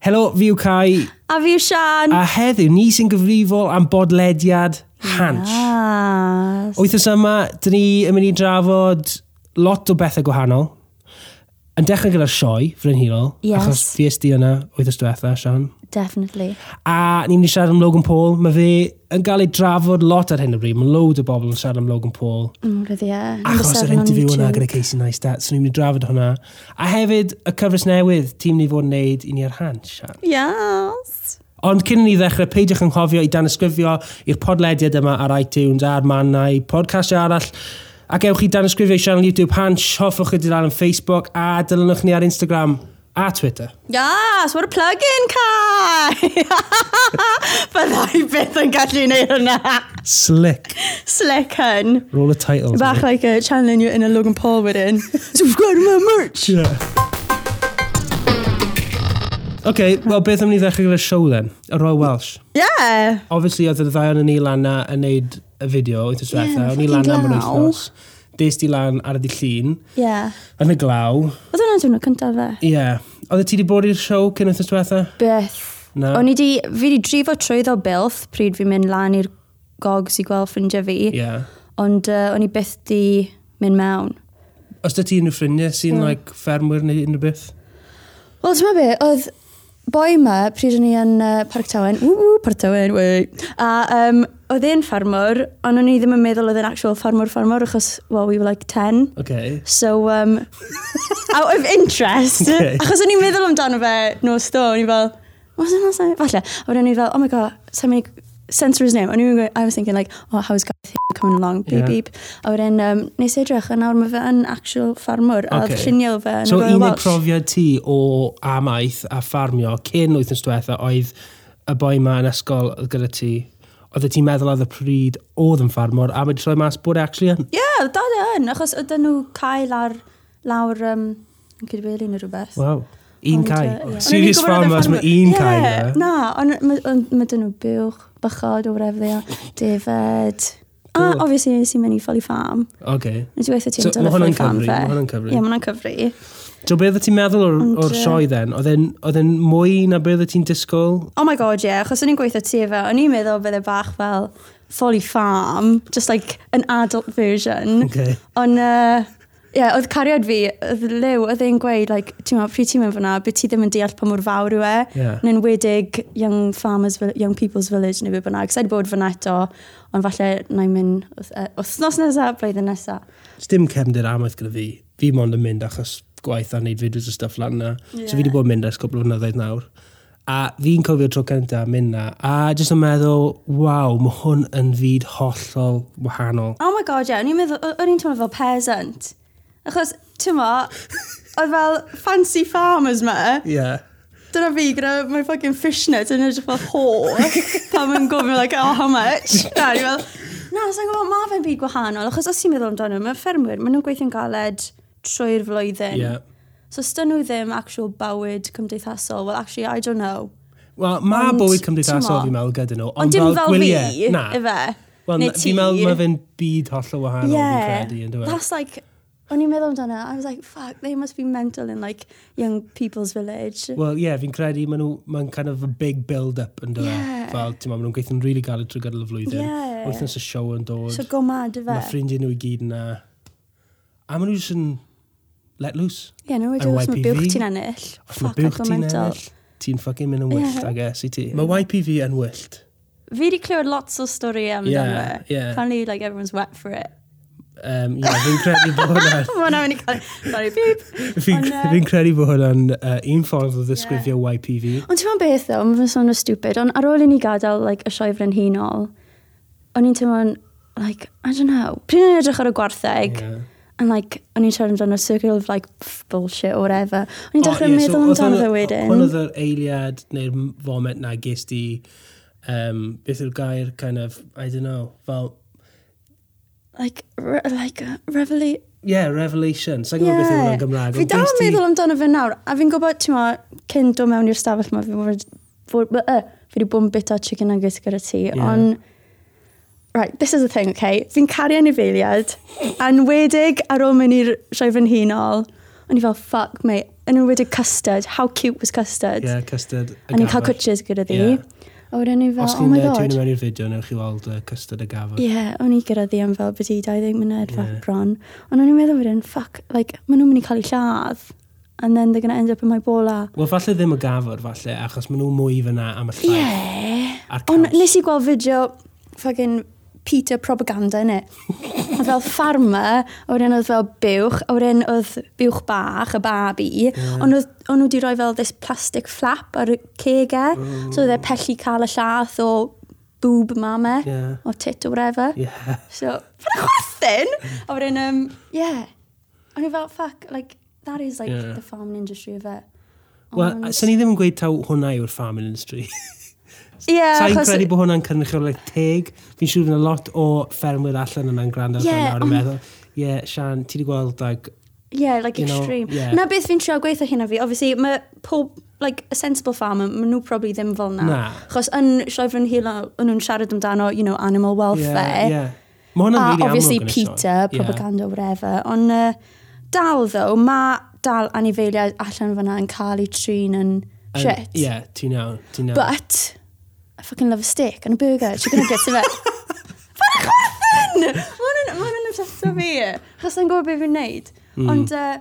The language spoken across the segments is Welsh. Helo, fi yw Cai, A fi yw Sian. a heddiw ni sy'n gyfrifol am bodlediad Hansh. Yes. Wythnos yma, dyn ni yn mynd i drafod lot o bethau gwahanol. Yn dechrau gyda'r sioe, Frenhirol, Yes. achos fi ysdi yna wythnos diwetha, Sian. Definitely. A ni'n mynd i siarad am Logan Paul. Mae fe yn cael ei drafod lot ar hyn o bryd. Mae load o bobl yn siarad am Logan Paul. Mm, Roedd ie. Number Achos yr seven on interview yna YouTube. gyda Casey Neistat, so ni'n mynd i drafod hwnna. A hefyd, y cyfres newydd, tîm ni fod yn neud i ni ar Hansh, Sian. Yes. Ond cyn i ni ddechrau, peidiwch yn cofio i danysgrifio i'r podlediad yma ar iTunes a'r mannau, podcast arall. Ac ewch i danysgrifio i sianel YouTube Hansh, hoffwch i ddilal yn Facebook a dilynwch ni ar Instagram a Twitter. Yes, what a plug-in, Kai! Bydda i byth yn gallu gwneud hynna. Slick. Slick hun. Roll the titles. Bach like a channeling you in a Logan Paul wedyn. Subscribe to my merch! Yeah. OK, wel beth am ni ddechrau gyda'r show then? Y Royal Welsh. Yeah! Obviously, oedd y ddau o'n ni lan na yn neud y fideo o'i tyswetha. Yeah, o'n i lan na am yr fucking glaw. wythnos. Des di lan ar y di llun, Yeah. yn y glaw. Oedd hwnna'n diwrnod cyntaf fe? Ie. Yeah. Oedde ti wedi bod i'r siow cyn wythnos diwetha? Beth. Na. O'n i di, fi di drifo trwyddo bilth pryd fi'n mynd lan i'r gogs i gweld ffrindiau fi. Ie. Yeah. Ond uh, o'n i byth di mynd mewn. Os da ti unrhyw ffrindiau sy'n mm. like, ffermwyr neu unrhyw beth? Wel, ti'n meddwl be, oedd boi yma, pryd o'n i yn uh, Parc Tawen, ww, ww, Parc Tawen, wei. A um, oedd e'n ffarmwr, ond o'n i ddim yn meddwl oedd e'n actual ffarmwr ffarmwr, achos, well, we were like 10. OK. So, um, out of interest, Okay. achos o'n i'n meddwl amdano fe nos do, o'n i fel, was it last night? Falle. A wedyn o'n i fel, oh my god, so many censor his name. O'n i'n gwneud, I was thinking like, oh, how's Gareth Hill coming along, beep, Yeah. beep. A wedyn, um, nes i edrych, a nawr mae fe yn actual ffarmwr, a Okay. oedd llunio fe yn So y Royal un o'r Welsh. profiad ti o amaeth a ffarmio cyn wythnos diwetha oedd y boi ma yn ysgol oedd gyda ti. Oedde ti'n meddwl oedd y pryd oedd yn ffarmwr a mae wedi troi mas bod e actually yn. Ie, yeah, dal e yn, achos ydyn nhw cael ar lawr um, yn cydweli neu rhywbeth. Wow. Un Ond, cae. Oh, yy, ie. O'n i'n Serious gwbod oedd e'n farmers, mae ffarmwr. un Ie, cae na. Na, ond ma- ond mae dyn nhw bywch, bychod o wref ddeia, David. A, Cool. obviously, nes i mynd i ffoli ffam. OK. Nes i weithio ti'n So, dod ma' o hwnna'n ffoli ffam cyfri, fe. ma' hwnna'n cyfri. Ie, mae hwnna'n cyfri. So beth oedd ti'n meddwl o'r, Ond, or yy, sioe then? Oedd e'n- Oedd e'n mwy na beth oedd ti'n disgwyl? Oh my god, ie, yeah, achos o'n i'n gweithio tu fe, o'n i'n meddwl bydde bach fel ffoli ffam, just like an adult version. OK. Ond, uh, ie, yeah, oedd cariad fi, oedd Liw, oedd e'n gweud, like, ti'n meddwl, pryd ti'n mynd fyna, byd ti ddim yn deall pa mor fawr yw e. Ie. Yn enwedig Young Farmers, Vill- Young People's Village neu beth bynnag. Sa'i 'di bod fyna eto, ond falle na i'n mynd wyth- yy, wythnos nesaf, blwyddyn nesaf. Dim cefndir amaeth gyda fi. Fi mond yn mynd achos gwaith a wneud fideos o stuff lan na. Yeah. So fi wedi bod yn mynd ers cwbl o flynyddoedd nawr. A fi'n cofio tro cyntaf mynd na. A jyst yn meddwl, waw, mae hwn yn fyd hollol wahanol. Oh my god, ie, yeah, o'n i'n meddwl, o- o'n i'n teimlo fel peasant. Achos, ti'n mo, oedd fel fancy farmers ma, Ie. Yeah. dyna fi gyda my fucking fishnet yn edrych fel whore pan mae'n gofyn like oh how much a ni fel na sa'n gwybod ma fe'n byd gwahanol achos os ti'n meddwl amdano mae ffermwyr maen nhw'n gweithio'n galed trwy'r flwyddyn Yeah. so styn nhw ddim actual bywyd cymdeithasol well actually I don't know Wel, mae Ond, bywyd t'mo- cymdeithasol fi'n meddwl gyda nhw. ond dim fel gwyliau, fi Na. ife Wel, neu na- fi'n meddwl mae fe'n byd hollol wahanol yeah. fi'n credu. yndyw e? that's like o'n i'n meddwl amdano I was like fuck they must be mental in like young people's village Wel, ie, yeah, fi'n credu maen nhw, mae'n kind of a big build-up yn dweud. Ie. Fel, ti'n maen nhw'n gweithio'n rili really galed trwy gadael y flwyddyn. Ie. Wythnos y siow yn dod. so go mad ife Mae ffrindiau nhw i gyd yna. A maen nhw jyst yn let loose. Ie, no, wedi yn os mae bywch YPV. ti'n ennill. Os mae Fuck, bywch I'd go ti'n mental. ennill, ti'n ffucking mynd yn wyllt, Ie. I guess, i ti. Mae YPV yn wyllt. Fi wedi clywed lots o stori am Ie, yeah, ie. Apparently, like, everyone's wet for it. Um, ie, fi'n credu bod hwnna... Mae hwnna'n mynd i cael... Sorry, beep. Fi'n Ond, cre- yy, fi'n credu bod hwnna'n uh, un ffordd o ddisgrifio YPV. Ond ti'n meddwl beth, ddo, mae'n sôn o stupid, ond ar ôl i ni gadael, like, y sioe frenhinol, o'n i'n teimlo'n, like, I don't know, pryd o'n i'n edrych ar y gwartheg, Ie. and, like, o'n i'n siarad amdano circle of, like, pff, bullshit or whatever. O'n i'n O, dechrau ie, Oh, so meddwl oedd amdano fe hwnna- Hwn wedyn. oedd yr eiliad neu'r m- foment na ges di, um, beth yw'r gair, kind of, I don't know, fel, Like, re like, uh, revelation. yeah, revelation. Sa'n gwybod beth yw hwnna'n Gymraeg. Fi ond dal ges yn di- meddwl amdano fe nawr, a fi'n gwybod, ti'n ma, cyn dod mewn i'r stafell ma, fi wedi bod, uh, fi wedi bod yn bita chicken nuggets gyda ti, Ie. ond, right, this is the thing, okay, fi'n cario anifeiliad, a'n wedig ar ôl mynd i'r sioe fy nhinol, ond i fel, fuck, mate, yn enwedig custard. How cute was custard? yeah, custard. a ni'n cael cwtches gyda ddi. Ie. A wedyn ni fel, Os oh chi'n my eh, tywyn god. mewn i'r fideo, newch chi weld uh, custard y gafod. Ie, yeah, o'n i gyda ddi am fel byddu 20 munud yeah. bron. Ond o'n i'n meddwl wedyn, ffuck, like, maen nhw'n mynd i cael eu lladd. And then they're going to end up in my bola. Wel, falle ddim y gafod, falle, achos maen nhw mwy fyna am y llaeth. Yeah. A'r Ond caws. nes i gweld fideo fucking Peter Propaganda yn e. Oedd fel farmer, a wedyn oedd fel buwch, a wedyn oedd buwch bach, y babi, ond oedd- ond nhw wedi rhoi fel this plastic flap ar y cegau, so oedd e pellu cael y llath o boob mame, Ie. o tit o whatever. Yeah. So, fan y chwerthin! A wedyn, um, yeah. O'n i fel, fuck, like, that is like Ie. the farming industry of it. Oh, Wel, sy'n ni ddim yn gweud taw hwnna yw'r farming industry. Yeah, Sa'n achos- credu bod hwnna'n cynrychiolaeth teg. Fi'n siŵr fydd yna lot o ffermwyr allan yna'n gwrando ar Ie, yeah, nawr yn ond- meddwl, ie, yeah, Sian, ti wedi gweld like, Yeah, like You know, extreme. yeah. Na beth fi'n trio gweithio hynna fi, obviously, mae pob, like, a sensible farmer, maen nhw probably ddim fel na. Na. Chos yn sioefryn hil o'n nhw'n siarad amdano, you know, animal ie, welfare. ie. Mae hwnna'n A really obviously amlwg yn y sioe. Peter, Ie. propaganda, whatever. Ond uh, dal, ddo, mae dal anifeiliaid allan fyna yn cael eu trin yn Yn- shit. Ie, ti'n iawn, ti'n iawn. But, I fucking love a steak and a burger. Chicken nuggets, yfe? Fucking chwerthin! Mae'n yn obsessed o fi. Chos yn gwybod beth fi'n neud. Ond, uh,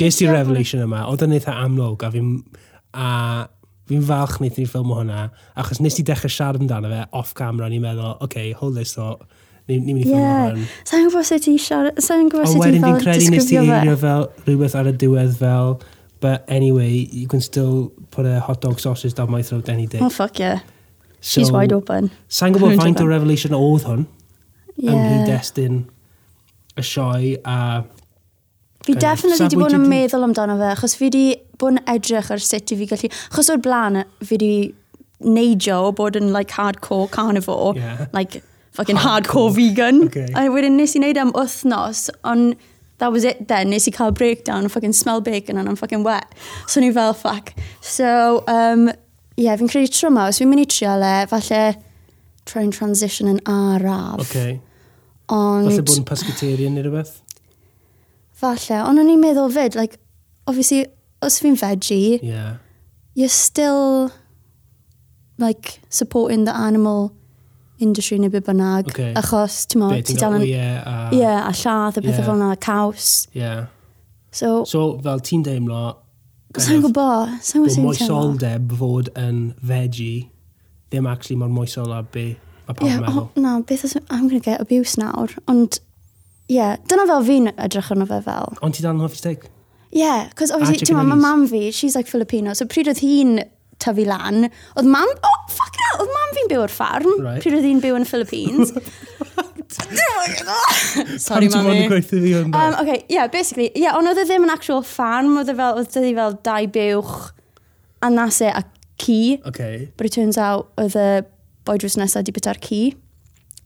Ges i'r revelation yma, oedd yn eitha amlwg a fi'n a fi'n falch wneud ni ffilm o hwnna, achos nes i dechrau siarad amdano fe off camera, ni'n meddwl, oce, okay, hold this thought, ni'n ni mynd i ffilm o Yeah. hwn. Sa'n gwybod sut i siarad... Sa'n gwybod Ond sut i wedyn fel fi'n credu nes i disgrifio fe. eirio fel rhywbeth ar y diwedd fel, but anyway, you can still put a hot dog sausage down my throat any day. Oh, fuck yeah. She's wide open. Sa'n gwybod 100% faint o revelation oedd hwn, yeah. ym Yeah. hyd-destun y sioe a... Fi Kind of. definitely Sa wedi bwydi bod yn di- meddwl amdano fe, achos fi wedi bod yn edrych ar sut i fi gallu... Achos o'r blaen, fi wedi neidio o bod yn like hardcore carnivore, Yeah. like fucking hardcore, vegan. Okay. A wedyn nes i wneud am wythnos, ond that was it then, nes i cael breakdown, fucking smell bacon and I'm fucking wet. So ni fel, fuck. So, um, yeah, fi'n credu tro ma, os fi'n mynd i trio le, falle try and transition yn araf. Oce. Okay. Ond... Falle bod yn pescatarian neu rhywbeth? Falle, ond o'n i'n meddwl fyd, like, obviously, os fi'n veggie, Ie. Yeah. you're still, like, supporting the animal industry neu beth bynnag. Okay. Achos, ti'n mo, Be, ti ti'n dal gael yn... Ie, wyau a... yeah, a lladd a pethau Ie. fel na, caws. Yeah. So, So, fel ti'n deimlo... sa'n Bod gwybod, sa'n gwybod sa'n gwybod. moesoldeb fod yn veggie, ddim actually mor moesol a be mae pawb Ie, yn meddwl. o, na, beth os... I'm going to get abuse nawr. Ond, ie, yeah, dyna fel fi'n edrych arno fe fel. Ond ti dal yn hoffi steak? Yeah, cos obviously, ti'n chicken ma, mae nuggets. mam fi, she's like Filipino, so pryd oedd hi'n tyfu lan, oedd mam, oh, fuck it, oedd mam fi'n byw ar ffarm, Right. pryd oedd hi'n byw yn y Philippines. Sorry, Pam ti'n bod yn mami. gweithio fi hwn? Um, okay, yeah, basically, yeah, ond oedd e ddim yn actual ffarm, oedd e fel, oedd e fel dau bywch, a nas e a ci, Okay. but it turns out oedd y boi drws nesaf di byta'r ci.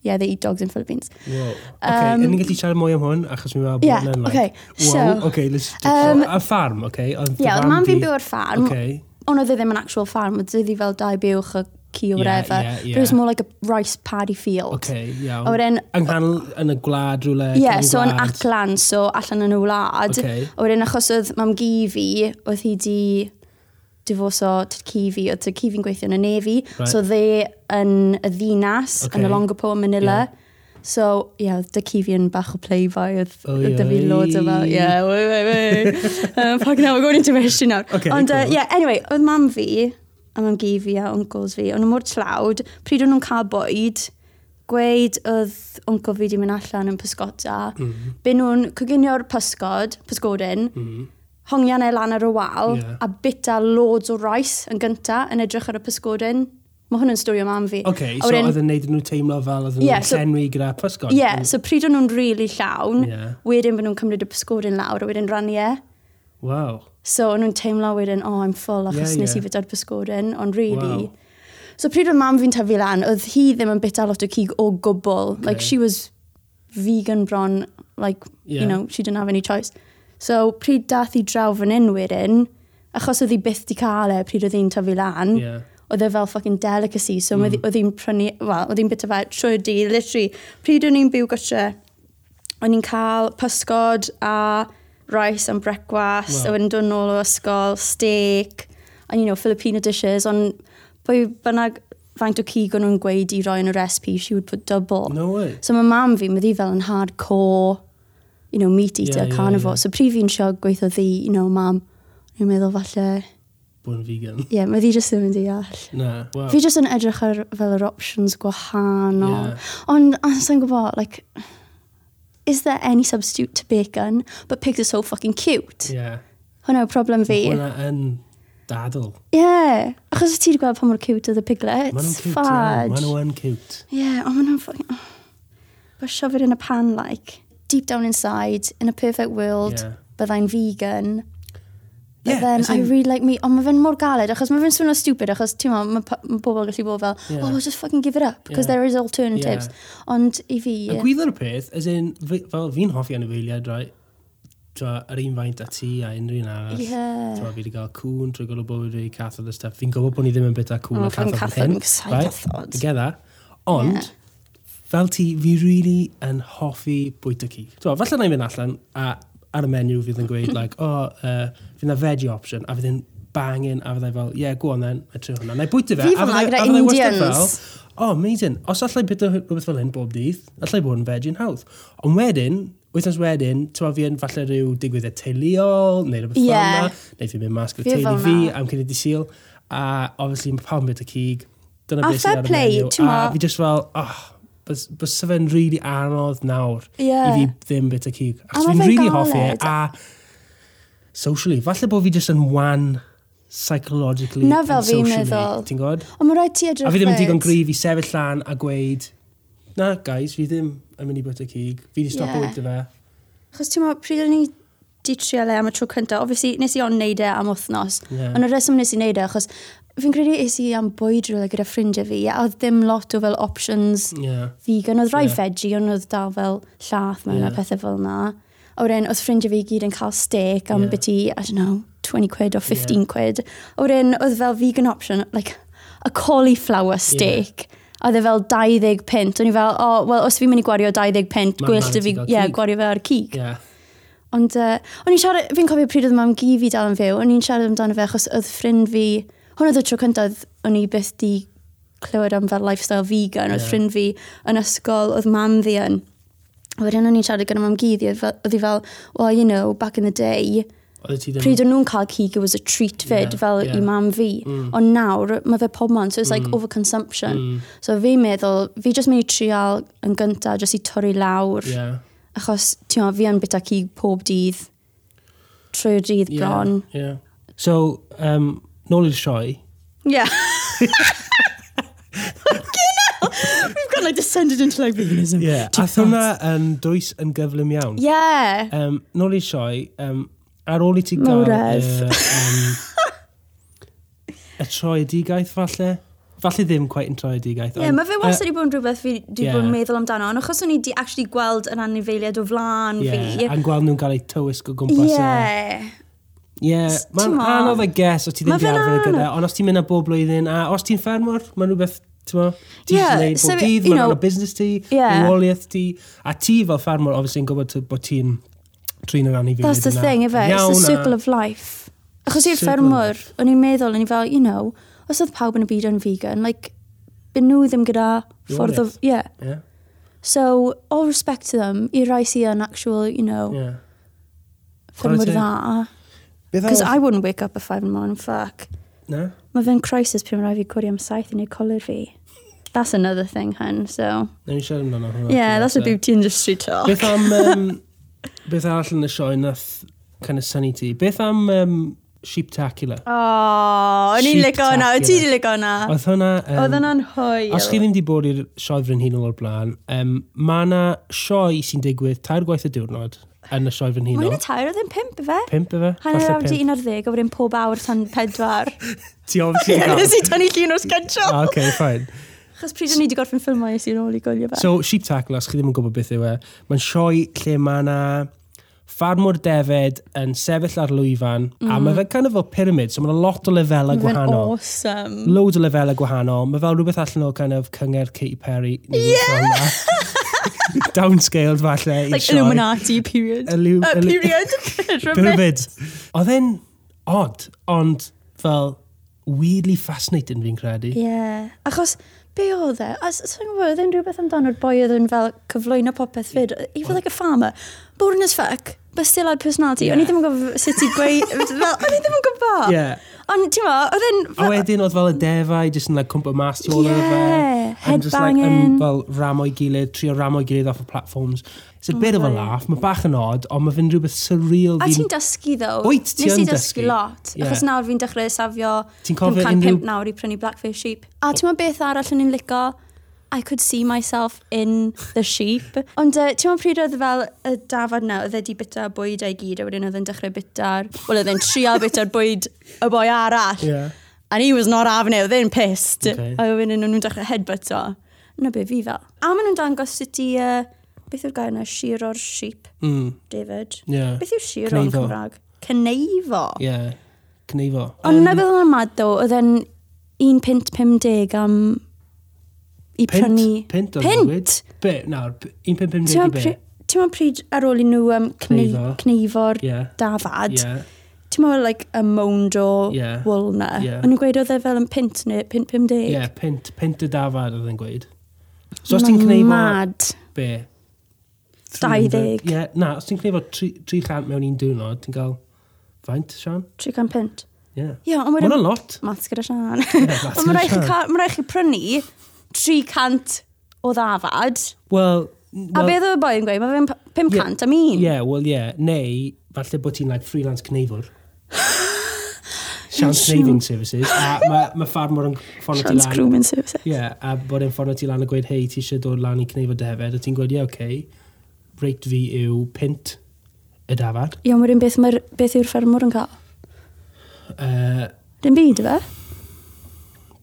Yeah, they eat dogs in Philippines. Wow. Okay, um, Um, yn ni'n gallu siarad mwy am hwn, achos mi'n meddwl bod Yeah, hwnna'n okay, Wow, so- okay, let's... Um, a farm, okay? Ond dy Yeah, oedd mam fi'n di- byw ar ffarm, Okay. ond oedd e ddim yn actual farm, oedd iddi fel dau buwch o ci o Ie, whatever. ie, ie. But it was more like a rice paddy field. Okay, A iawn. wedyn, Yng nghanol yn y gwlad rhywle. ie, cefn so yn gwlad. aclan, so allan yn y wlad. Ocê. A wedyn, achos oedd mam gi fi, oedd hi di difos o tyd ci fi, oedd tyd ci fi'n gweithio yn y nefi. Right. So dde yn y ddinas, Ocê. yn y Longapo, yn Manila. So, ie, yeah, dy ci fi yn bach o playboy, oedd Oi, oedd dy fi oi. loads o fel, ie, wei, wei, wei. Um, Fuck now, we're going into mission nawr. Ocê, Ond, uh, cool. yeah, anyway, oedd mam fi, a mam gi fi a uncles fi, o'n nhw mor tlawd, pryd o'n nhw'n cael bwyd, gweud oedd uncle fi wedi mynd allan yn pysgota, Mhm. mm. be nhw'n coginio'r pysgod, pysgodin, mm. hongian e lan ar y wal, Ie. a bita loads o rice yn gynta yn edrych ar y pysgodin. Mae hwn yn stori o mam fi. Okay, A so wedyn- oedd e- yn neud nhw teimlo fel oedd yn Ie, yeah, so- llenwi gyda pysgod. Ie, yeah, so pryd o'n nhw'n rili really llawn, Ie. wedyn bod nhw'n cymryd y pysgodin lawr a wedyn rannu e. Wow. So o'n nhw'n teimlo wedyn, oh, I'm full, achos Ie, nes ie. i fyda'r pysgodin, ond really. Wow. So pryd o'n mam fi'n tyfu lan, oedd hi ddim yn bita lot o cig o gwbl. Like, Okay. she was vegan bron, like, Ie. you know, she didn't have any choice. So pryd dath i draw fan hyn wedyn, achos oedd hi byth di cael e pryd oedd hi'n tyfu lan, Ie. oedd e fel fucking delicacy, so mm. oedd hi'n prynu, wel, oedd hi'n bita fe trwy'r di, literally. Pryd o'n i'n byw gytre, o'n i'n cael pysgod a rice am brecwast, Wow. a wedyn dod nôl o ysgol, steak, and you know, Filipino dishes, ond pwy bynnag faint o cig o'n nhw'n gweud i roi yn y recipe, she would put double. No way. So mae mam fi, mae ddi fel yn hardcore, you know, meat Ie, eater, yeah, ie, carnivore. ie. So prif fi'n siog gweithio ddi, you know, mam, ni'n meddwl falle, Bod yn vegan. ie, yeah, mae ddi jyst ddim yn deall. Na. Wow. Fi jyst yn edrych ar fel yr options gwahanol. Ie. Ond, a sa'n gwybod, like, is there any substitute to bacon? But pigs are so fucking cute. Yeah. Hwnna yw problem fi. Mae hwnna yn dadl. Ie. Achos ti wedi gweld pa mor cute oedd y piglets. Mae nhw'n cute. iawn. Mae Fudge. nhw yn cute. Yeah, ond ma' nhw'n fucking... oh. But shove it in a pan, like, deep down inside, in a perfect world, Ie. byddai'n vegan. But Ie, then as I in- really like meat. Ond mae fe'n mor galed, achos mae fe'n swnio stupid, achos ti'n ma, mae pa- ma' pobl gallu bod fel, Ie. oh, just fucking give it up, because Ie. there is alternatives. Ond i fi... Yn gwyddo'r peth, as in, fi- fel fi'n hoffi anifeiliaid, rai, t'wo, yr un faint a ti a unrhyw un arall. Ie. T'wo, fi wedi cael cŵn trwy gol o bywyd fi, cathod a stuff. Fi'n gwybod bod ni ddim yn bita cŵn Oh, a cathod fucking yn hyn. cathod, I'm sorry, cathod. I get that. Ond, Ie. fel ti, fi really yn hoffi bwyta cig. T'wo, falle na i fynd allan a ar y menu fydd yn gweud, like, oh, uh, fydd na veggie option, a fydd yn bangin, a fyddai fel, yeah, go on then, a trio hwnna. Na i bwyta fe. Fi a fel 'na fyddai- gyda a fyddai wastad Indians. fel, O, oh, amazing. Os allai bita rhywbeth fel hyn bob dydd, allai bod yn veggie yn hawdd. Ond wedyn, wythnos wedyn, ti'n fi yn falle rhyw digwyddiad teuluol, neu rhywbeth Ie. yeah. fel yna, neu fi'n mynd mas gyda Fi teulu fel fi, na. am cyn i di sil, a obviously mae pawb yn bita cig. Dyna A beth sydd Oh, ar fair y play, menu. A t'mo'. fi just fel, oh, bys bys fe'n rili really anodd nawr Ie. i fi ddim bita cig. A Achos ma' fi'n fe'n really hoffi e, galed. a socially, falle bod fi just yn wan psychologically Na and fel fi'n socially. meddwl. Ti'n gwybod? Ond mae rhaid ti edrych A fi ddim yn digon fyd. grif i sefyll lan a gweud, na, guys, fi ddim yn mynd i bwyta cig. Fi di stop Ie. bwyta fe. Achos ti'n meddwl, pryd o'n i di trio le am y tro cyntaf, obviously nes i ond neud e am wythnos, Ie. ond y reswm nes i neud e, achos fi'n credu es i am bwyd rhywle gyda ffrindiau fi, a oedd ddim lot o fel options Ie. vegan, oedd rai Ie. veggie, ond oedd dal fel llath mewn Ie. a pethau fel na. A wedyn, oedd ffrindiau fi i gyd yn cael steak am Ie. beth i, I don't know, 20 quid or 15 quid. A wedyn, oedd fel vegan option, like, a cauliflower steak. A oedd e fel 20 pint. O'n i fel, o, oh, wel, os fi'n mynd i gwario 20 pint, Ma' gwyllt mam i ti fi, gael yeah, cig. gwario fe ar cig. Ie. Ond, uh, o'n i'n siarad, fi'n cofio pryd oedd mam gi fi dal yn fyw, o'n i'n siarad amdano fe achos oedd ffrind fi, hwn oedd y tro cyntaf, o'n i byth di clywed am fel lifestyle vegan, oedd Ie. ffrind fi yn ysgol, oedd mam fi yn. A wedyn o'n i'n siarad gyda mam gi fi, oedd fel- oedd hi fel, well, you know, back in the day, Oedd ti ddim... pryd o'n nhw'n cael cig, it was a treat fyd, Mm. Ie, fel ie. Mm. i mam fi. Ond nawr, mae fe pob man, so it's like overconsumption. So fi'n meddwl, fi jyst mynd i trial yn gyntaf, jyst i torri lawr Ie. achos ti'n meddwl, fi yn bita cig pob dydd trwy'r dydd Ie. bron. Ie. So, um, nôl i'r sioe. Yeah. We've got like descended into like veganism. Ie. Ath hwnna yn dwys yn gyflym iawn. Yeah. Um, nôl i'r sioe, um, ar ôl i ti gael... Mowredd. yy, um, y troedigaeth falle? Falle ddim quite yn troedigaeth. Ie, ond- mae fe wastad wedi bod yn rhywbeth fi wedi bod Ie. yn meddwl amdano, ond achos o'n i wedi actually gweld yr anifeiliad o flan Ie, fi. a'n gweld nhw'n cael eu tywysg o gwmpas y- Ie. Ie, mae'n T'mo? anodd, I guess, os ti ddim Ma' wedi fe'n arfer anodd. gyda, ond os ti'n mynd â bob blwyddyn, a os ti'n ffermwr, mae'n rhywbeth, ti'n mo, ti'n Ie, yeah, neud so, bob dydd, you mae'n know, rhan o busnes ti, Ie. rywoliaeth ti, a ti fel ffermwr, obviously, yn gwybod t- bod ti'n trin yn anodd i fi. That's the thing, ife? It's the circle of life. Achos Circle i'r of ffermwr, life. o'n i'n meddwl, o'n i fel, you know, os oedd pawb yn y byd yn vegan, like, byd nhw ddim gyda ffordd o... Rywoliaeth. Yeah. Yeah, So, all respect to them, i rai sydd yn actual, you know, yeah. yeah. ffyrmwyr Chwarae dda. Because I wouldn't wake up at five in the morning, fuck. Na? Mae fe'n crisis pwy rai fi cwri am saith i neud colir fi. That's another thing, hun, so... Na ni siarad amdano hwnna. yeah, that's a beauty industry talk. Beth am, um, beth arall yn y sioe nath kind of sunny ti? Beth am um, Sheeptacular? Uh, Oh, o'n i'n ligo hwnna, o ti di ligo hwnna. Oedd hwnna... yym, Oedd hwnna'n Os chi hwyl. ddim wedi bod i'r sioe frenhinol o'r blaen, um, mae yna sioe sy'n digwydd tair gwaith y diwrnod yn y sioe Mae'n frenhinol. y tair, oedd yn pimp i fe. Pimp efe? Hanner awr di pimp. 11, a wedyn pob awr tan pedwar. Ti obviously Ie, yn Nes cael. i tynnu llun o'r schedule. Ah, OK, fine. Chos pryd o'n i wedi gorffen ffilmau, nes i'n ôl i gwylio fe. So, sheep tackle, os chi ddim yn gwybod beth yw e, mae'n sioe lle mae yna ffarmwr defyd yn sefyll ar lwyfan, mm. Mhm. a mae fe kind of fel pyramid, so mae yna lot o lefelau Mae'n gwahanol. awesome. Loads o lefelau gwahanol. Mae fel rhywbeth allan o kind of cyngor Katy Perry. Yeah! downscaled falle i Like Illuminati period. Illu- Uh, illu- period. Rhyfedd. Pyramid. Oedd e'n odd, ond fel weirdly fascinating fi'n credu. Ie. Achos, be oedd e? A s- Sa'n gwybod, oedd e'n rhywbeth amdano'r boi oedd yn fel cyflwyno popeth fyd. He was like a farmer. Boring as fuck, but still had personality. O'n i ddim yn gwybod sut i gweud... fel- O'n i ddim yn gwybod. Ie. Ond, ti'n ma, oedd e'n... A fel- wedyn oedd fel y defau, jyst yn like, cwmpa mas tu ôl Ie, yeah, fe. And just like, yn headbanging. fel ram o'i gilydd, trio ram o'i gilydd off y platforms. It's a bit of a laugh, mae bach yn odd, ond mae fe'n rhywbeth surreal. A fi'n- ti'n dysgu, ddo? Wyt, ti Nes i yn dysgu dysgu. lot. Ie. Achos nawr fi'n dechrau safio Ti'n cofio 500 unrhyw- nawr i prynu Blackfish Sheep. A ti'n meddwl beth arall yn un lico? I could see myself in the sheep. Ond uh, ti'n meddwl pryd oedd fel y dafod na, oedd wedi bita bwyd ei gyd, a wedyn oedd yn dechrau bita'r... Wel, oedd e'n trial bita'r bwyd y boi arall. Ie. And he was not having it, oedd e'n pissed. Okay. A wedyn o'n nhw'n dechrau headbutto. Na be fi fel. A maen nhw'n dangos sut i... Uh, beth yw'r gair na? Shiro'r sheep. Mm, David. Ie. Beth yw siro yn Cneifo. Cymraeg? Cneifo. ie. Cneifo. Um, Ond na bydd yn mad ddo, oedd e'n 1.50 am i Pint? prynu... Pint o'n Pint? Be, nawr, 1.50 Ti'n i meddwl be? pry- ti'n meddwl pryd ar ôl i nhw um, Cneifo. cneifo'r Ie. dafad, Ie. ti'n meddwl like a mownd o Ie. wool na. Ie. O'n nhw'n gweud oedd e fel yn pint neu pint 50. Ie, pint, pint y dafad oedd yn gweud. So os ti'n cneifo... Mad. Be? 20. 300. Ie, na, os ti'n cneifo 300 mewn un diwrnod, ti'n cael faint, Sian? Tri gan pint. Ie. Ie, ond Ma' wedyn... hwnna'n lot. Maths gyda Sian. maths Ond gyda mae'n rhaid chi Sian. ca- ma' raid chi prynu 300 o ddafad. Wel... n- A wel- beth oedd y boi yn gweud? Mae fe'n p- 500 am un. Ie, wel ie. Neu, falle bod ti'n like freelance cneifwr. Sian Sian. Saving Services. A mae ma ffarmwr yn ffordd ti lan. Transgrooming services. Ie, yeah, a bod e'n ffordd ti lan a gweud, hei, ti eisiau dod lan i cneifo defed, a ti'n gweud, ie, yeah, oce, okay. reit fi yw pint y dafad. Ie, ond wedyn beth, mae'r- beth yw'r ffermwr yn cael? Uh, Dim byd, yfe?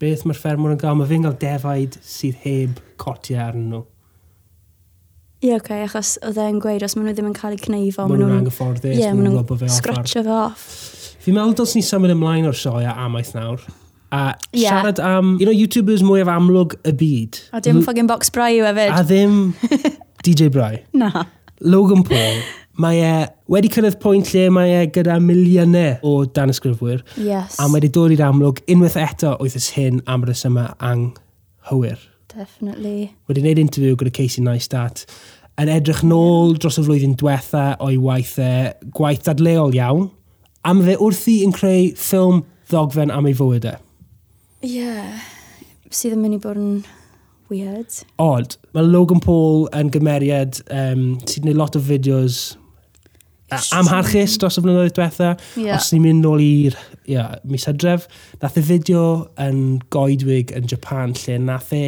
beth mae'r ffermwr yn gael? Mae fe'n cael defaid sydd heb cotiau arnyn nhw. Ie, oce, okay, achos oedd e'n gweid, os maen nhw ddim yn cael eu cneifo, Ma' nhw'n anghyfforddus, Ie, ma' maen nhw'n gweld bod fe nhw'n off ar- scratcho fe off. Fi'n meddwl dylsyn ni symud ymlaen o'r sioe a amaeth nawr. A Ie. siarad am, you know, YouTubers mwyaf amlwg y byd. A dim ffogin box brai yw Mm. e, A hefyd. ddim DJ Bry. Na. Logan Paul, mae e wedi cyrraedd pwynt lle mae e gyda miliynau o danysgrifwyr Yes, a mae wedi dod i'r amlwg unwaith eto wythnos hyn am yr yma anghywir. definitely. Wedi gwneud interview gyda Casey Neistat yn edrych nôl dros y flwyddyn diwetha o'i waith e, gwaith dadleol iawn, a mae fe wrthi yn creu ffilm ddogfen am ei fywyd e. Ie, yeah. sydd yn mynd i bod yn weird. Odd, mae Logan Paul yn gymeriad um, sydd wneud lot o fideos a- amharchus dros y flynyddoedd diwetha. Ie. Os ni'n mynd nôl i'r yeah, mis adref, nath y fideo yn goedwig yn Japan lle nath e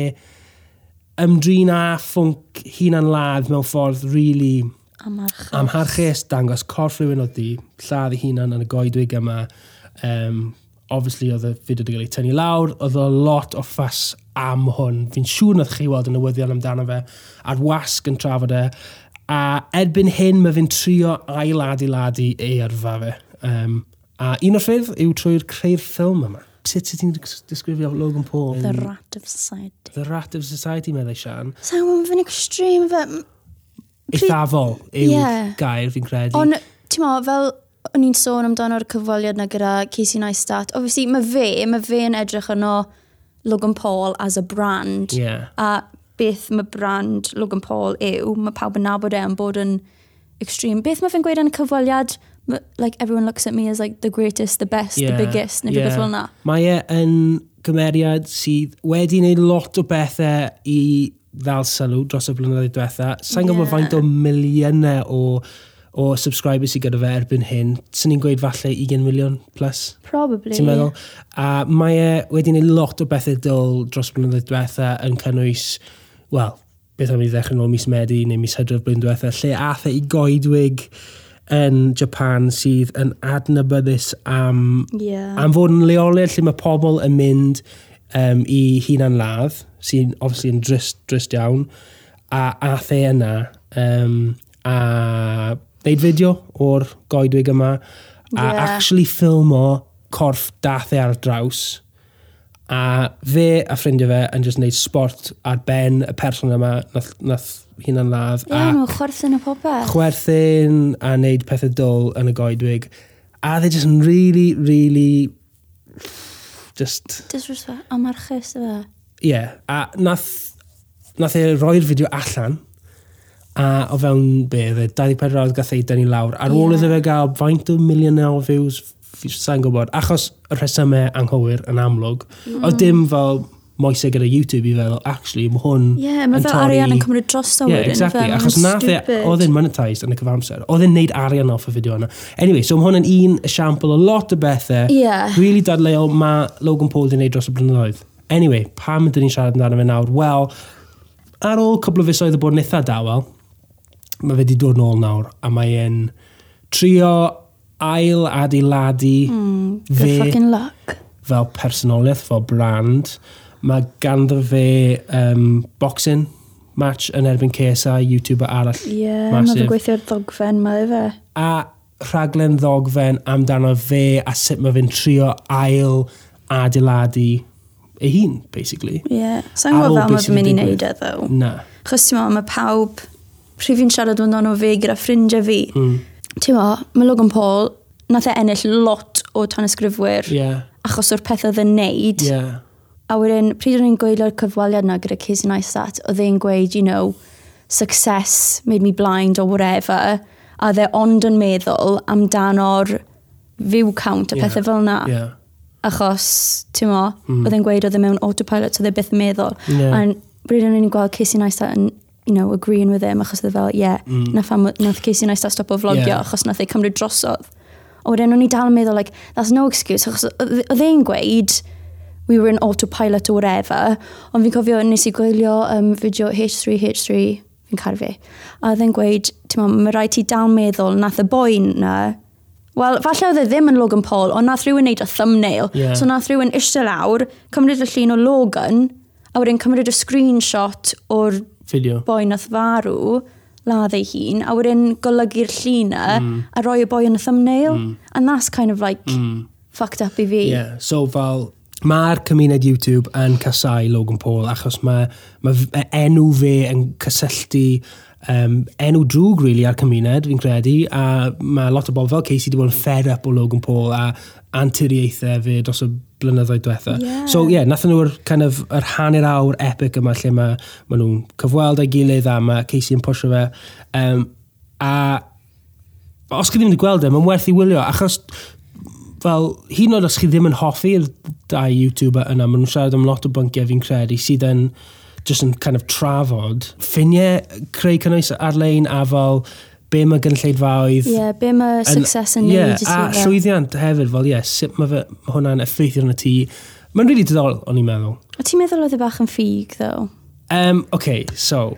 ymdrin â ffwnc hunan ladd mewn ffordd really A march. amharchus, dangos corff rhywun oedd di lladd ei hunan yn y goedwig yma. Um, obviously, oedd y fideo wedi cael ei tynnu lawr. Oedd o lot o ffas am hwn. Fi'n siŵr nad chi weld y newyddion amdano fe. A'r wasg yn trafod e. A erbyn hyn, mae fe'n trio ailadu-ladu ei yrfa fe. Um, a un o'r ffyrdd yw trwy'r creu'r ffilm yma. Sut sut ti'n disgrifio Logan Paul? The rat of society. The Rat of Society, meddai Sian. Sa'n gwybod fe'n extreme fe. M- Eithafol yw Ie. gair, fi'n credu. Ond, ti'n mo, fel o'n i'n sôn amdano'r cyfweliad na gyda Casey Neistat, obviously mae fe, mae fe yn edrych yno Logan Paul as a brand. Ie. A beth mae brand Logan Paul yw, mae pawb yn nabod e yn bod yn extreme. Beth mae fe'n gweud yn y cyfweliad, Ma- like everyone looks at me as like the greatest, the best, the biggest, neu rhywbeth fel na. Mae e yn gymeriad sydd wedi wneud lot o bethau i ddal sylw dros y blynyddoedd diwetha. Sa'n Ie. gwybod faint o miliynau o, o subscribers sydd gyda fe erbyn hyn. Sa'n ni'n gweud falle 20 miliwn plus? Probably. Ti'n meddwl? A mae e wedi wneud lot o bethau dyl dros blynyddoedd diwetha yn cynnwys, wel, beth am i ddechrau nôl mis Medi neu mis Hydref blwyddyn diwetha, lle ath e i goedwig yn Japan sydd yn adnabyddus am, Ie. am fod yn leolau lle mae pobl yn mynd um, i hunan ladd, sy'n obviously yn drist, drist iawn, a ath e yna um, a wneud fideo o'r goedwig yma, a Ie. actually ffilmo corff dath e ar draws a fe a ffrindiau fe yn just wneud sport ar ben y person yma nath, nath hunan ladd. Ie, yeah, mae'n chwerthin o popeth. chwerthin a wneud pethau dol yn y goedwig. A they're just yn really, really... Just... Disrespect, a mae'r chys yma. Ie. Yeah. A nath... Nath e roi'r fideo allan. A o fewn e, be, fe 24 awr gath ei dynnu lawr. Ar ôl Ie. iddo fe gael faint o miliynau o views, f- sa'n gwybod. Achos y rhesymau anghywir yn amlwg. Mm. Oedd dim fel moesau gyda YouTube i feddwl, actually, mae hwn Ie, yeah, mae yn fel torri- arian yn cymryd dros o Yeah, exactly. Achos nath e, oedd e'n monetised yn y cyfamser. Oedd e'n neud arian off y fideo yna. Anyway, so mae hwn yn un esiampl o lot o bethau. Ie. Really dadleu o mae Logan Paul wedi neud dros y blynyddoedd. Anyway, pam ydyn ni'n siarad amdano fe nawr? Wel, ar ôl cwbl o fusoedd o bod yn eitha dawel, mae fe wedi dod nôl nawr, a mae e'n trio ail adeiladu Hmm, Mm, Good fucking luck. fel personoliaeth, fel brand. Mae ganddo fe um, boxing match yn erbyn CSI, YouTuber arall. Ie, yeah, mae fe massive. gweithio'r ddogfen mae fe. A rhaglen ddogfen amdano fe a sut mae fe'n trio ail adeiladu ei hun, basically. Ie. Yeah. Sa'n Ar ôl gwybod fel beth mae sydd fe'n mynd wedi i wneud e, digwydd. ddo. Na. Chos ti'n meddwl, mae pawb... Pryd fi'n siarad amdano fe gyda ffrindiau fi, Mm. ti'n meddwl, mae Logan Paul, nath e ennill lot o tanysgrifwyr Yeah, achos o'r pethau dde'n neud. yeah. A wedyn, pryd o'n i'n gwylio'r cyfweliad na gyda Casey Neistat, oedd e'n gweud, you know, success made me blind or whatever, a dde ond yn meddwl amdano'r view count a Ie, pethau fel na. Yeah. Achos, ti'n mo, oedd e'n gweud oedd e mewn autopilot, so dde byth yn meddwl. Mhm. Ie. A pryd o'n i'n gweld Casey Neistat yn, you know, agreeing with him, achos oedd e fel, yeah, nath, am, nath Casey Neistat stop o vlogio, Mm. Ie. achos nath ei cymryd drosodd. A wedyn o'n i dal yn meddwl, like, that's no excuse, achos oedd oedd e'n gweud, we were in autopilot or whatever, ond fi'n cofio nes i gwylio um, fideo H3, H3, fi'n caru fe, a oedd e'n gweud, ti'n ma, mae rhaid ti dal meddwl nath y boi na, wel, falle oedd e ddim yn Logan Paul, ond nath rhywun neud y thumbnail, Ie. so nath rhywun eistedd lawr, cymryd y llun o Logan, a wedyn cymryd y screenshot o'r Fideo. boi nath farw, ladd ei hun, a wedyn golygu'r llun na, Mm. a roi y boi yn y thumbnail, and that's kind of like, Mm. fucked up i fi. Yeah, so fel mae'r cymuned YouTube yn casau Logan Paul achos mae ma enw fe yn cysylltu um, enw drwg really ar cymuned fi'n credu a mae lot o bobl fel Casey wedi bod yn fed up o Logan Paul a anturiaethau fe dros y blynyddoedd diwetha. Ie. So ie, yeah, nathon nhw'r kind of, yr hanner awr epic yma lle mae ma nhw'n cyfweld a'i gilydd a mae Casey yn pwysio fe. Um, a os chi ddim wedi gweld e, mae'n werth i wylio, achos fel, hyd yn oed os chi ddim yn hoffi'r dau YouTuber yna, maen nhw'n siarad am lot o bynciau fi'n credu, sydd yn just yn kind of trafod ffiniau creu cynnwys ar-lein a fel be mae gynulleidfaoedd Ie, be mae success yn Ie, neud i ti A fel. llwyddiant hefyd, fel ie, yeah, sut mae fe- ma' hwnna'n effeithio yn y tŷ. Mae'n rili really diddorol, o'n i'n meddwl. O ti'n meddwl oedd e bach yn ffug, ddo? Um, okay, so,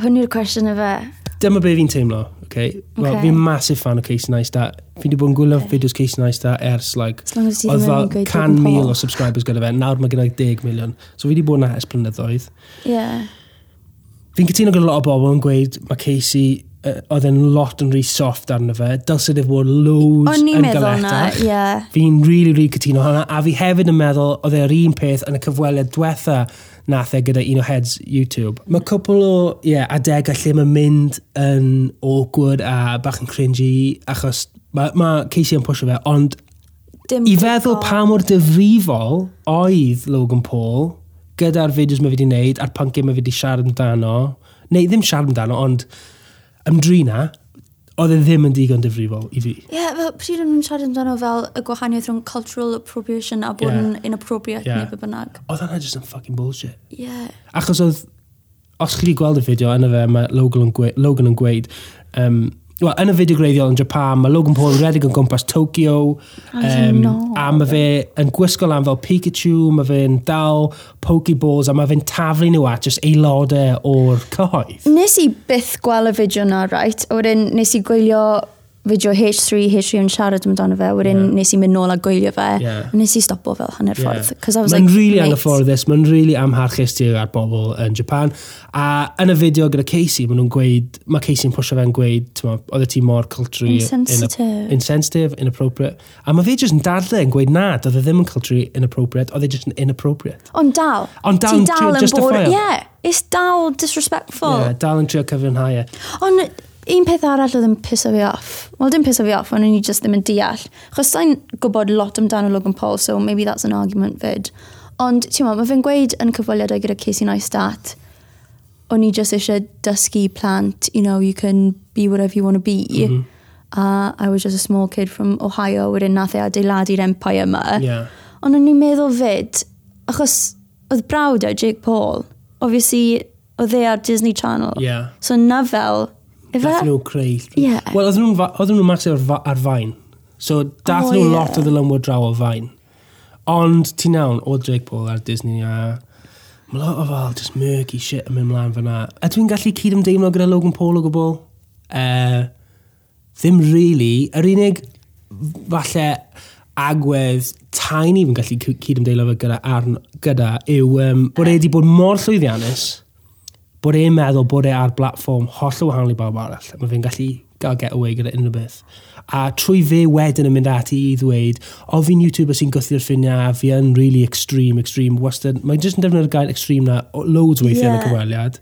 Hwn yw'r cwestiwn y fe. dyma be fi'n teimlo, okay? Well, Ocê. fi'n massive fan o Casey Neistat. Fi wedi bod yn gwylio fideos Casey Neistat ers, like, As long as ti oedd ddim yn fel gweud can Logan mil Paul. o subscribers gyda fe. Nawr mae gyda 10 miliwn. So fi wedi bod yna ers blynyddoedd. Ie. Fi'n cytuno gyda lot o bobl yn gweud mae Casey uh, oedd e'n lot yn rhy soft arno fe. Dylse ddef bod loads O'n yn i'n meddwl na, galetach. ie. Fi'n really, really cytuno hwnna, a fi hefyd yn meddwl oedd e'r un peth yn y cyfweliad diwetha nath e gyda un o heads YouTube. Mae cwpl o yeah, adegau lle mae'n mynd yn awkward a bach yn cringy, achos mae ma Casey yn pwysio fe, ond Dim i feddwl digon. pa mor difrifol oedd Logan Paul gyda'r fideos mae wedi wneud a'r pynciau mae wedi siarad amdano, neu ddim siarad amdano, ond ymdrina, oedd e ddim yn digon difrifol i fi. Ie, fel pryd o'n nhw'n siarad amdano fel y gwahaniaeth rhwng cultural appropriation a bod Ie. yn inappropriate Ie. neu be bynnag. Oedd hwnna just yn fucking bullshit. Ie. Achos oedd, os chi wedi gweld y fideo, yna fe, mae Logan yn gweud, Logan yn gweud um, Wel, yn y fideo greiddiol yn Japan, mae Logan Paul yn redeg yn gwmpas Tokyo I em, know. a mae fe yn gwisgo lan fel Pikachu, mae fe'n dal Pokeballs a mae fe'n taflu nhw at just aelodau o'r cyhoedd. Nes i byth gweld y fideo na, right? A wedyn nes i gwylio fideo H3, H3 yn siarad amdano fe, wedyn Ie. yeah. nes i mynd nôl a gwylio fe, Ie. nes i stopo fel hanner Yeah. ffordd. 'cause I was Mae'n like, really mate. anghyfforddus, mae'n really amharchus tuag at bobl yn Japan. A yn y fideo gyda Casey, maen nhw'n gweud, mae Casey'n pwysio fe'n gweid, t'mo', oedd y ti mor culturally... Insensitive. ina- insensitive, inappropriate. A mae fe jyst yn dadle yn gweud na, doedd e ddim yn culturally inappropriate, oedd e jyst yn inappropriate. Ond dal. Ond dal ti yn trio yn bod- justifio. Yeah, it's dal disrespectful. Ie, dal yn trio cyfiawnhau e. Ond un peth arall oedd yn piso fi off. Wel, dim piso fi off, ond o'n i just ddim yn deall. Chos sa'n gwybod lot amdano Logan Paul, so maybe that's an argument fyd. Ond, ti'n mo, mae fe'n gweud yn cyfweliadau gyda Casey Neistat, o'n i just eisiau dysgu plant, you know, you can be whatever you want to be. A I was just a small kid from Ohio, wedyn nath e adeiladu'r empire yma. Ie. Ond o'n i'n meddwl fyd, achos oedd brawd e, Jake Paul, obviously, oedd e ar Disney Channel. Ie. So na fel, Dath efe? nhw creu... e? Ie. Wel, oedden nhw'n fa- oedden nhw'n masif ar, fa- ar fain. So, dath O, nhw ie. lot o ddylymwyr draw o fain. Ond, ti'n nawn, o Jake Paul ar Disney a... Mae lot o fel, just murky shit yn mynd mlaen fyna. A dwi'n gallu cydymdeimlo gyda Logan Paul o gwbl? Uh, ddim really. Yr unig, f- falle, agwedd tain i fi'n gallu cy- cydymdeimlo fe gyda, arn, gyda yw um, bod e wedi bod mor llwyddiannus bod e'n meddwl bod e ar blatfform holl o wahanol i bawb arall. a Mae fe'n gallu gael get away gyda unrhyw beth. A trwy fe wedyn yn mynd ati i ddweud, o fi'n YouTuber sy'n gwythio'r ffiniau, a fi yn really extreme, extreme, wastad. Mae jyst yn defnyddio'r gair extreme na o- loads weithiau yn y Ie. cyfweliad.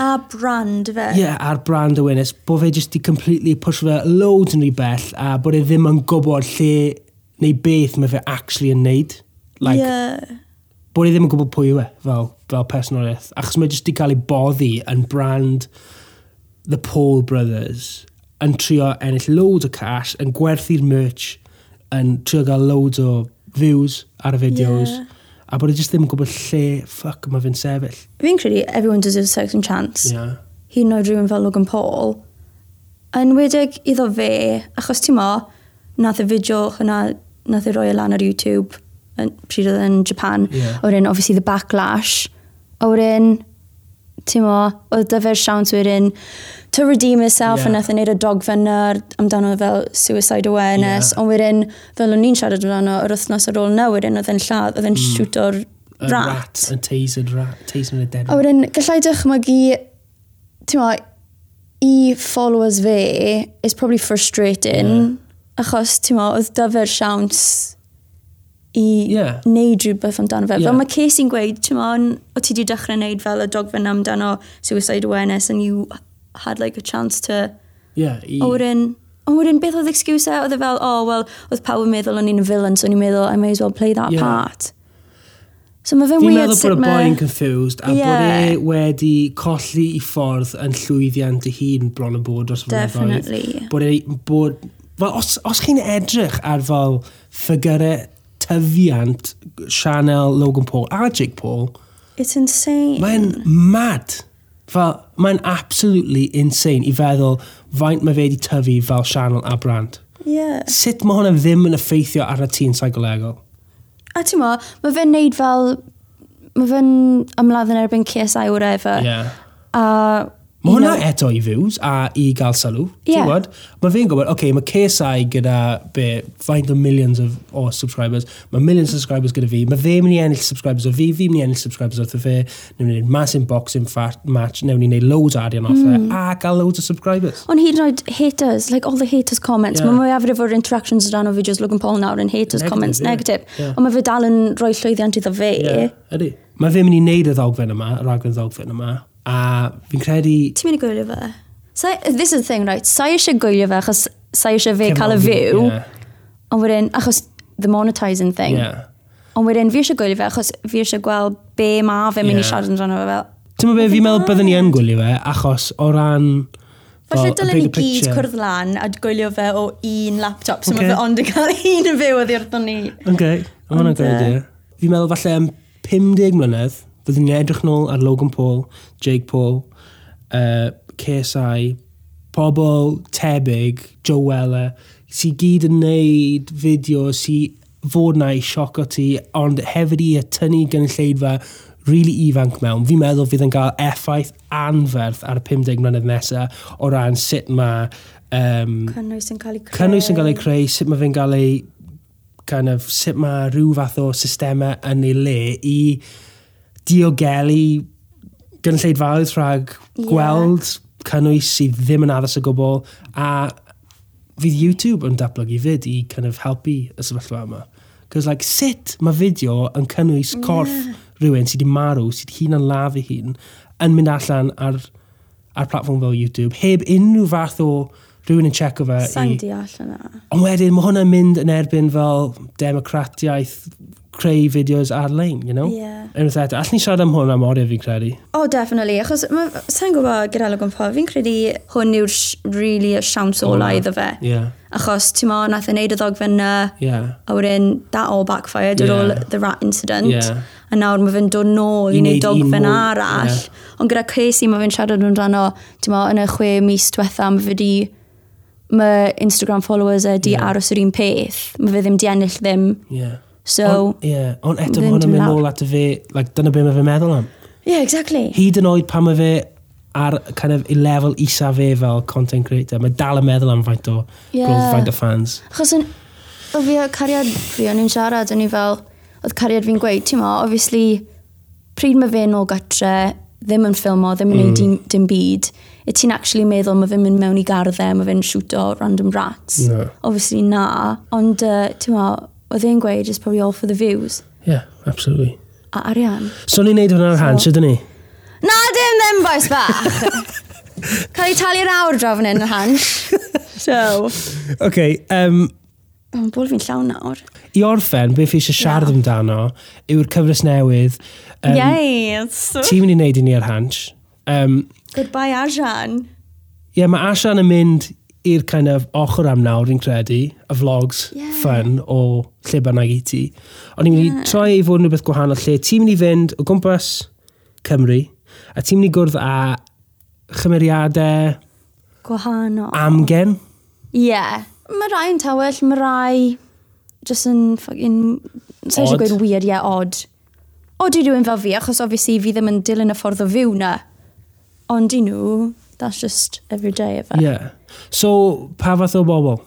A brand fe. Ie, yeah, e, a'r brand awareness, bod fe jyst di completely push fe loads yn rhy bell, a bod e ddim yn gwybod lle neu beth mae fe actually yn neud. Like, yeah. bod e ddim yn gwybod pwy yw e fel, fel personoliaeth. Achos mae jyst di cael ei boddi yn brand The Paul Brothers yn trio ennill loads o cash, yn gwerthu'r merch, yn trio gael loads o views ar y fideos. Ie. A bod e jyst ddim yn gwybod lle ffuck mae fe'n sefyll. Fi'n credu everyone deserves a second chance. Yeah. Hyd yn oed rhywun fel Logan Paul. Yn wedig iddo fe, achos ti'n mo, nath y fideo hwnna, nath y roi e lan ar YouTube, yn, pryd oedd yn Japan. Ie. O'r un, obviously, the backlash. O'r un, ti'n mo, oedd dyfer siawns wedyn to redeem Ie. herself yeah. a nath yn neud y dogfen ar amdano fel suicide awareness. Ie. Yeah. Ond wedyn, fel o'n i'n siarad amdano, yr wythnos ar ôl na wedyn, oedd yn lladd, oedd yn mm. siwto'r A rat. rat. A tasered rat. Tasered a dead A rat. wedyn, gallai dychmygu, ti'n mo, i followers fe is probably frustrating, yeah. achos, ti'n mo, oedd dyfer siawns i Ie. neud rhywbeth amdano fe. Ie. Yeah. Fel mae Casey'n gweud, ti'n mo, n- o ti di dechrau neud fel y dogfen amdano suicide awareness and you had like a chance to... Yeah, i... A wedyn, a wedyn beth oedd excuse e? Oedd e fel, oh, well, oedd pawb yn meddwl o'n i'n villain, so o'n i'n meddwl, I may as well play that Ie. yeah. part. So mae fe'n Fi'n weird meddwl bod sut y boi mae... yn confused a Ie. bod e wedi colli i ffordd yn llwyddiant ei hun bron yn bod dros y flynyddoedd. Definitely. Bod e, bod, fel, os, os chi'n edrych ar fel ffigurau tyfiant Chanel, Logan Paul a Jake Paul, It's insane. mae'n Mm. mad. Fel, mae'n absolutely insane i feddwl faint mae fe wedi tyfu fel Chanel a brand. Yeah. Sut mae hwnna ddim yn effeithio ar y tîn seicolegol? A ti'n mo, mae fe'n neud fel... Mae fe'n ymladd yn erbyn CSI or whatever. Yeah. A... Mae you hwnna know, eto i views a i gael sylw. Ie. Yeah. Gwybod? Mae fi'n gwybod, oce, okay, mae KSI gyda be, faint o millions of, o subscribers. Mae millions of subscribers gyda fi. Mae fe mynd i ennill subscribers o fi, fi mynd i ennill subscribers wrth y fe. Newn ni wneud massive boxing fat match, newn ni wneud loads o arian off e, Hmm. a gael loads o subscribers. Ond hyd yn oed haters, like all the haters comments. Yeah. Yeah. Mae mwyafrif o'r interactions o dan o fideos Logan Paul nawr yn haters Negative, comments ie. negative. Yeah. Ond mae fe dal yn rhoi llwyddiant iddo fe. Ie, Ydy. Mae fe mynd i wneud y ddogfen yma, y raglen ddogfen yma. A fi'n credu... Ti'n mynd i gwylio fe? Sa, this is the thing, right? Sa eisiau gwylio fe, achos sa eisiau fe cael y fyw. Ie, Ond wedyn, achos the monetising thing. Ie. Ond wedyn, fi eisiau gwylio fe, achos fi eisiau gweld be mae fe mynd Ie. i siarad yn fe fel. Ti'n meddwl be, fi'n meddwl byddwn ni yn gwylio fe, achos o ran... fel Falle y dylen bigger ni gyd picture. cwrdd lan a gwylio fe o un laptop, so Ocê. mae fe ond yn cael un yn fyw o ddiwrthon ni. Okay, mae hwnna'n Ond, good yy, idea. Fi'n meddwl falle am 50 mlynedd, byddwn ni'n edrych nôl ar Logan Paul, Jake Paul, uh, KSI, pobl tebyg, Joe Weller, sy gyd yn neud fideo sy fod na i sioc o ti, ond hefyd i tynnu gynulleidfa really ifanc mewn. Fi'n meddwl fydd yn cael effaith anferth ar y 50 mlynedd nesaf o ran sut mae um, Cynnwys yn cael ei creu. cynnwys yn cael ei creu, sut mae fe'n cael ei kind of, sut mae rhyw fath o systemau yn ei le i diogelu gynulleidfaoedd rhag Ie. gweld cynnwys sydd ddim yn addas o gwbl a fydd YouTube yn datblygu fyd i kind of helpu y sefyllfa yma. Cos like, sut mae fideo yn cynnwys corff rhywun sydd wedi marw, sydd hun yn laf ei hun, yn mynd allan ar, ar platform fel YouTube, heb unrhyw fath o rhywun yn checo fe Sa'n i... deall yna. Ond wedyn, mae hwnna'n mynd yn erbyn fel democratiaeth creu fideos ar-lein, you know? Ie. Unwaith eto, allwn ni siarad am hwn am oriau fi'n credu. O, oh, definitely, achos ma- sa'n gwybod gyda Logan Paul, fi'n credu hwn yw'r sh- really y siawns ola iddo fe. Yeah, Achos, ti'n mo, nath e wneud y ddogfenna, yeah. a wedyn, that all backfired yeah. Ie. ar ôl the rat incident. Ie. A nawr mae fe'n dod nôl I i wneud wneud un dogfen mwy, arall. ie. Ond gyda Casey, mae fe'n siarad amdano, ti'n mo, yn y chwe mis diwetha, mae fe di, mae Instagram followers e di Ie. aros yr un peth. Mae fe ddim di ennill ddim. Yeah. So, Ond- Ie, ond eto fynd mae hwnna'n yn mynd lawr. nôl at y fe, like, dyna be mae fe'n meddwl am. yeah, exactly. Hyd yn oed pan mae fe ar kind of, i lefel isa fe fel content creator, mae dal yn meddwl am faint o Ie. growth, faint o fans. Achos yn, o fi o cariad fi, o'n i'n siarad, o'n i fel, oedd cariad fi'n gweud, ti'n mo, obviously, pryd mae fe'n ôl gatre, ddim yn ffilmo, ddim yn mm. dim, dim byd, y ti'n actually meddwl mae fe'n mynd mewn i garddau, mae fe'n siwto random rats. No. Obviously na, ond, uh, ti'n mo, oedd e'n gweud, it's probably all for the views. Yeah, absolutely. A arian. So ni'n neud hwnna'n hand, sydd ni? Na dim ddim, boes bach! Cael ei talu'r awr draw fan hyn yn hans. So, OK, um, mae'n bwl fi'n llawn nawr. i orffen, beth fi eisiau siarad amdano yw'r cyfres newydd. Um, Yym, yes! Ti'n mynd i wneud i ni ar hans. Um, Goodbye, Arjan. Ie, yeah, mae Asian yn mynd i'r kind of ochr am nawr, fi'n credu, y vlogs Ie. yeah. fun o lle bynnag i ti. Ond ni'n mynd i troi i fod yn rhywbeth gwahanol lle. Ti'n mynd i fynd o gwmpas Cymru, a ti'n mynd i gwrdd â chymeriadau Gwahanol. amgen. Ie. Yeah. Mae rai yn tawell, mae rai just yn ffogin... Sa'n eisiau Odd. gweud weird, ie, yeah, odd. Odd i rhywun fel fi, achos obviously fi ddim yn dilyn y ffordd o fyw na. Ond i nhw, that's just everyday efe. Ie. Yeah. So, pa fath o bobl?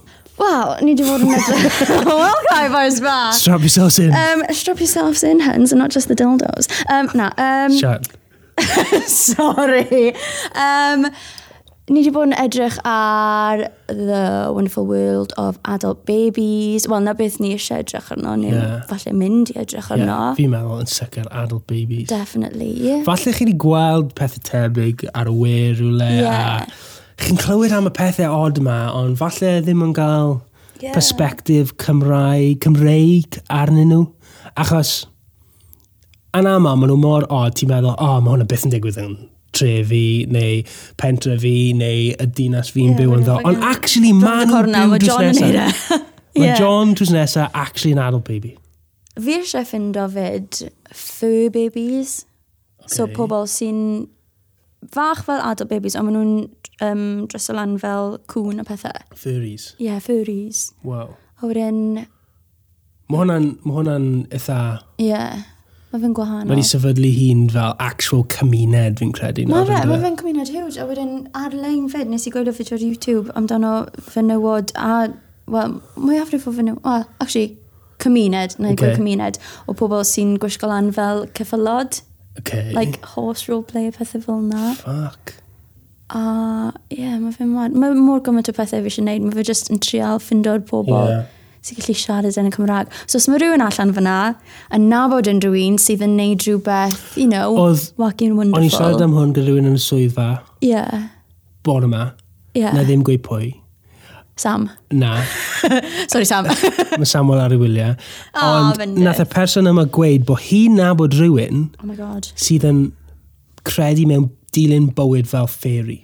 Wel, ni di fod yn edrych. Wel, gai boys ba. Strap yourselves in. Um, strap yourselves in, hens, and not just the dildos. Um, na, um, Sian. Sorry. Um, ni wedi bod yn edrych ar The Wonderful World of Adult Babies. Wel, na beth ni eisiau edrych arno, neu Ie. yeah. falle mynd i edrych Ie, arno. Yeah. Fi'n meddwl yn sicr adult babies. Definitely. Falle chi wedi gweld pethau tebyg ar y we rhywle Ie. a chi'n clywed am y pethau odd yma, ond falle ddim yn cael Ie. yeah. perspektif Cymraeg, Cymreig arnyn nhw. Achos, yn aml, maen nhw mor odd, ti'n meddwl, o, oh, mae hwnna byth yn digwydd yn tre fi, neu pentre fi, neu y dinas fi'n Ie, byw ma' yn nhw'n ddo. Ond fucking- actually, Drop maen the nhw'n corner, byw Mae John yn drws neud e. nesaf. Mae Ie. John drws nesaf actually an adult baby. Fi eisiau ffindo fyd fur babies. So Oce. pobl sy'n fach fel adult babies, ond maen nhw'n um, dryso lan fel cwn a pethau. Furries. Ie, yeah, furries. Wow. A wedyn, ie, Mae hwnna'n ma hwnna eitha... yeah, mae fe'n gwahanol. Mae wedi sefydlu hi'n fel actual cymuned, fi'n credu. nawr, e? Mae fe, yndyfe? mae fe'n cymuned huge, a wedyn ar-lein fyd, nes i gwylio fideo ar YouTube amdano fenywod a, wel, mwy afrif o fenywod, wel, actually, cymuned, neu okay. Okay. cymuned, o pobl sy'n gwisgo lan fel ceffylod, Okay. like horse role play a pethau fel na. Fuck. A, ie, yeah, mae fe'n mad. Mae mor gymaint o pethau fi eisiau gwneud, mae fe jyst yn trial ffindo'r pobl Ie. yeah. sy'n gallu siarad yn y Cymraeg. So os mae rhywun allan fyna, yn nabod unrhyw un sydd yn neud rhywbeth, you know, Oedd- wacky and O'n i'n siarad wonderful. am hwn gyda rhywun yn y swyddfa, Yeah, bore yma, na yeah. ddim gweud pwy. Sam. Na, Sorry, Sam. oh mae Samuel ar ei wyliau. Ah, Ond bendith. nath e- y person yma gweud bod hi'n nabod rhywun Oh my god. sydd yn credu mewn dilyn bywyd fel fairy.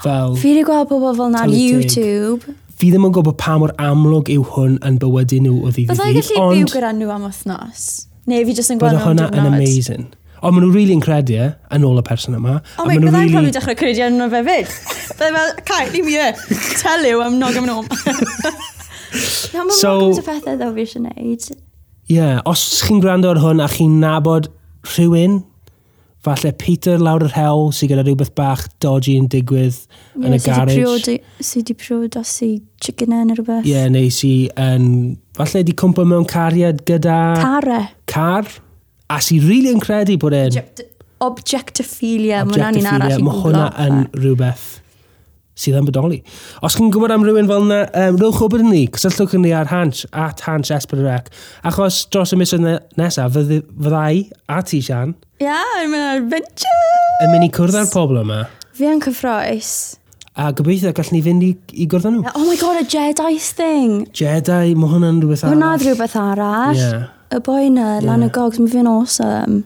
Fel, Fi wedi gweld pobl fel na ar Tylwyth teg. YouTube. fi ddim yn gwybod pa mor amlwg yw hwn yn bywydau nhw o ddydd i Fydda i ddydd, gallu byw ond gyda nhw am wythnos. Neu fi jyst yn bod gweld nhw'n hwnna yn diwrnod. amazing. Ond maen nhw'n really yn credu e, yn ôl y person yma. a O Oh, wait, maen nhw'n bydda i'n really- probably dechrau credu arno fe fyd. Bydda i fel, Cai, leave me here. Tell you, I'm not going home. Na, mae'n So- so, o pethau ddo fi eisiau gwneud. Ie, yeah, os chi'n gwrando ar hwn a chi'n nabod rhywun falle Peter lawr yr hewl sydd gyda rhywbeth bach dodgy yn digwydd yn y garage. Sydd wedi priodas i chicken neu rhywbeth. Ie, neu sy yn... Falle di cwmpa mewn cariad gyda Care. car. A sy'n rili yn credu bod e'n... Objectophilia. Mae hwnna'n un arall i Mae hwnna yn rhywbeth sydd yn bodoli. Os chi'n gwybod am rhywun fel yna, um, rwy'ch wybod yn ni, cysylltwch yn ni ar Hans, at Hans Esbyrrec. Achos dros y misoedd ne- nesaf, fydd- fyddai a ti, Sian, Ia, mae'n adventure! yn mynd i cwrdd â'r pobl yma. Fi yn cyffroes. A gobeithio gallwn ni fynd i, i gwrdd â nhw. Oh my god, y Jedi thing! Jedi, mae hwnna'n rhywbeth Hwna rhywbeth arall. Ie. Y boi na, Lana Gogs, mae fi'n awesome.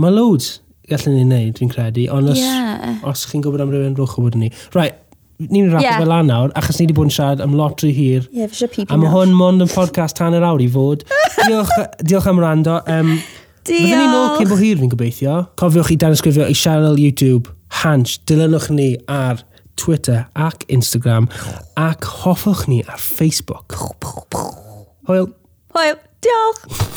Mae loads gallwn ni wneud, fi'n credu, ond os, Ie. os chi'n gwybod am rhywun, rwch o bod ni. Rai, ni'n rapio Ie. yeah. fel anawr, achos ni wedi bod yn siarad am lot rhy hir, Ie, fi eisiau pipi a mae hwn mond yn podcast tan yr awr i fod. diolch, diolch am rando. Um, Fyddwn ni'n ôl cyn bo hir fi'n gobeithio. Cofiwch i danysgrifio i sianel YouTube, Hans, dilynwch ni ar Twitter ac Instagram, ac hoffwch ni ar Facebook. Hwyl. Hwyl, diolch!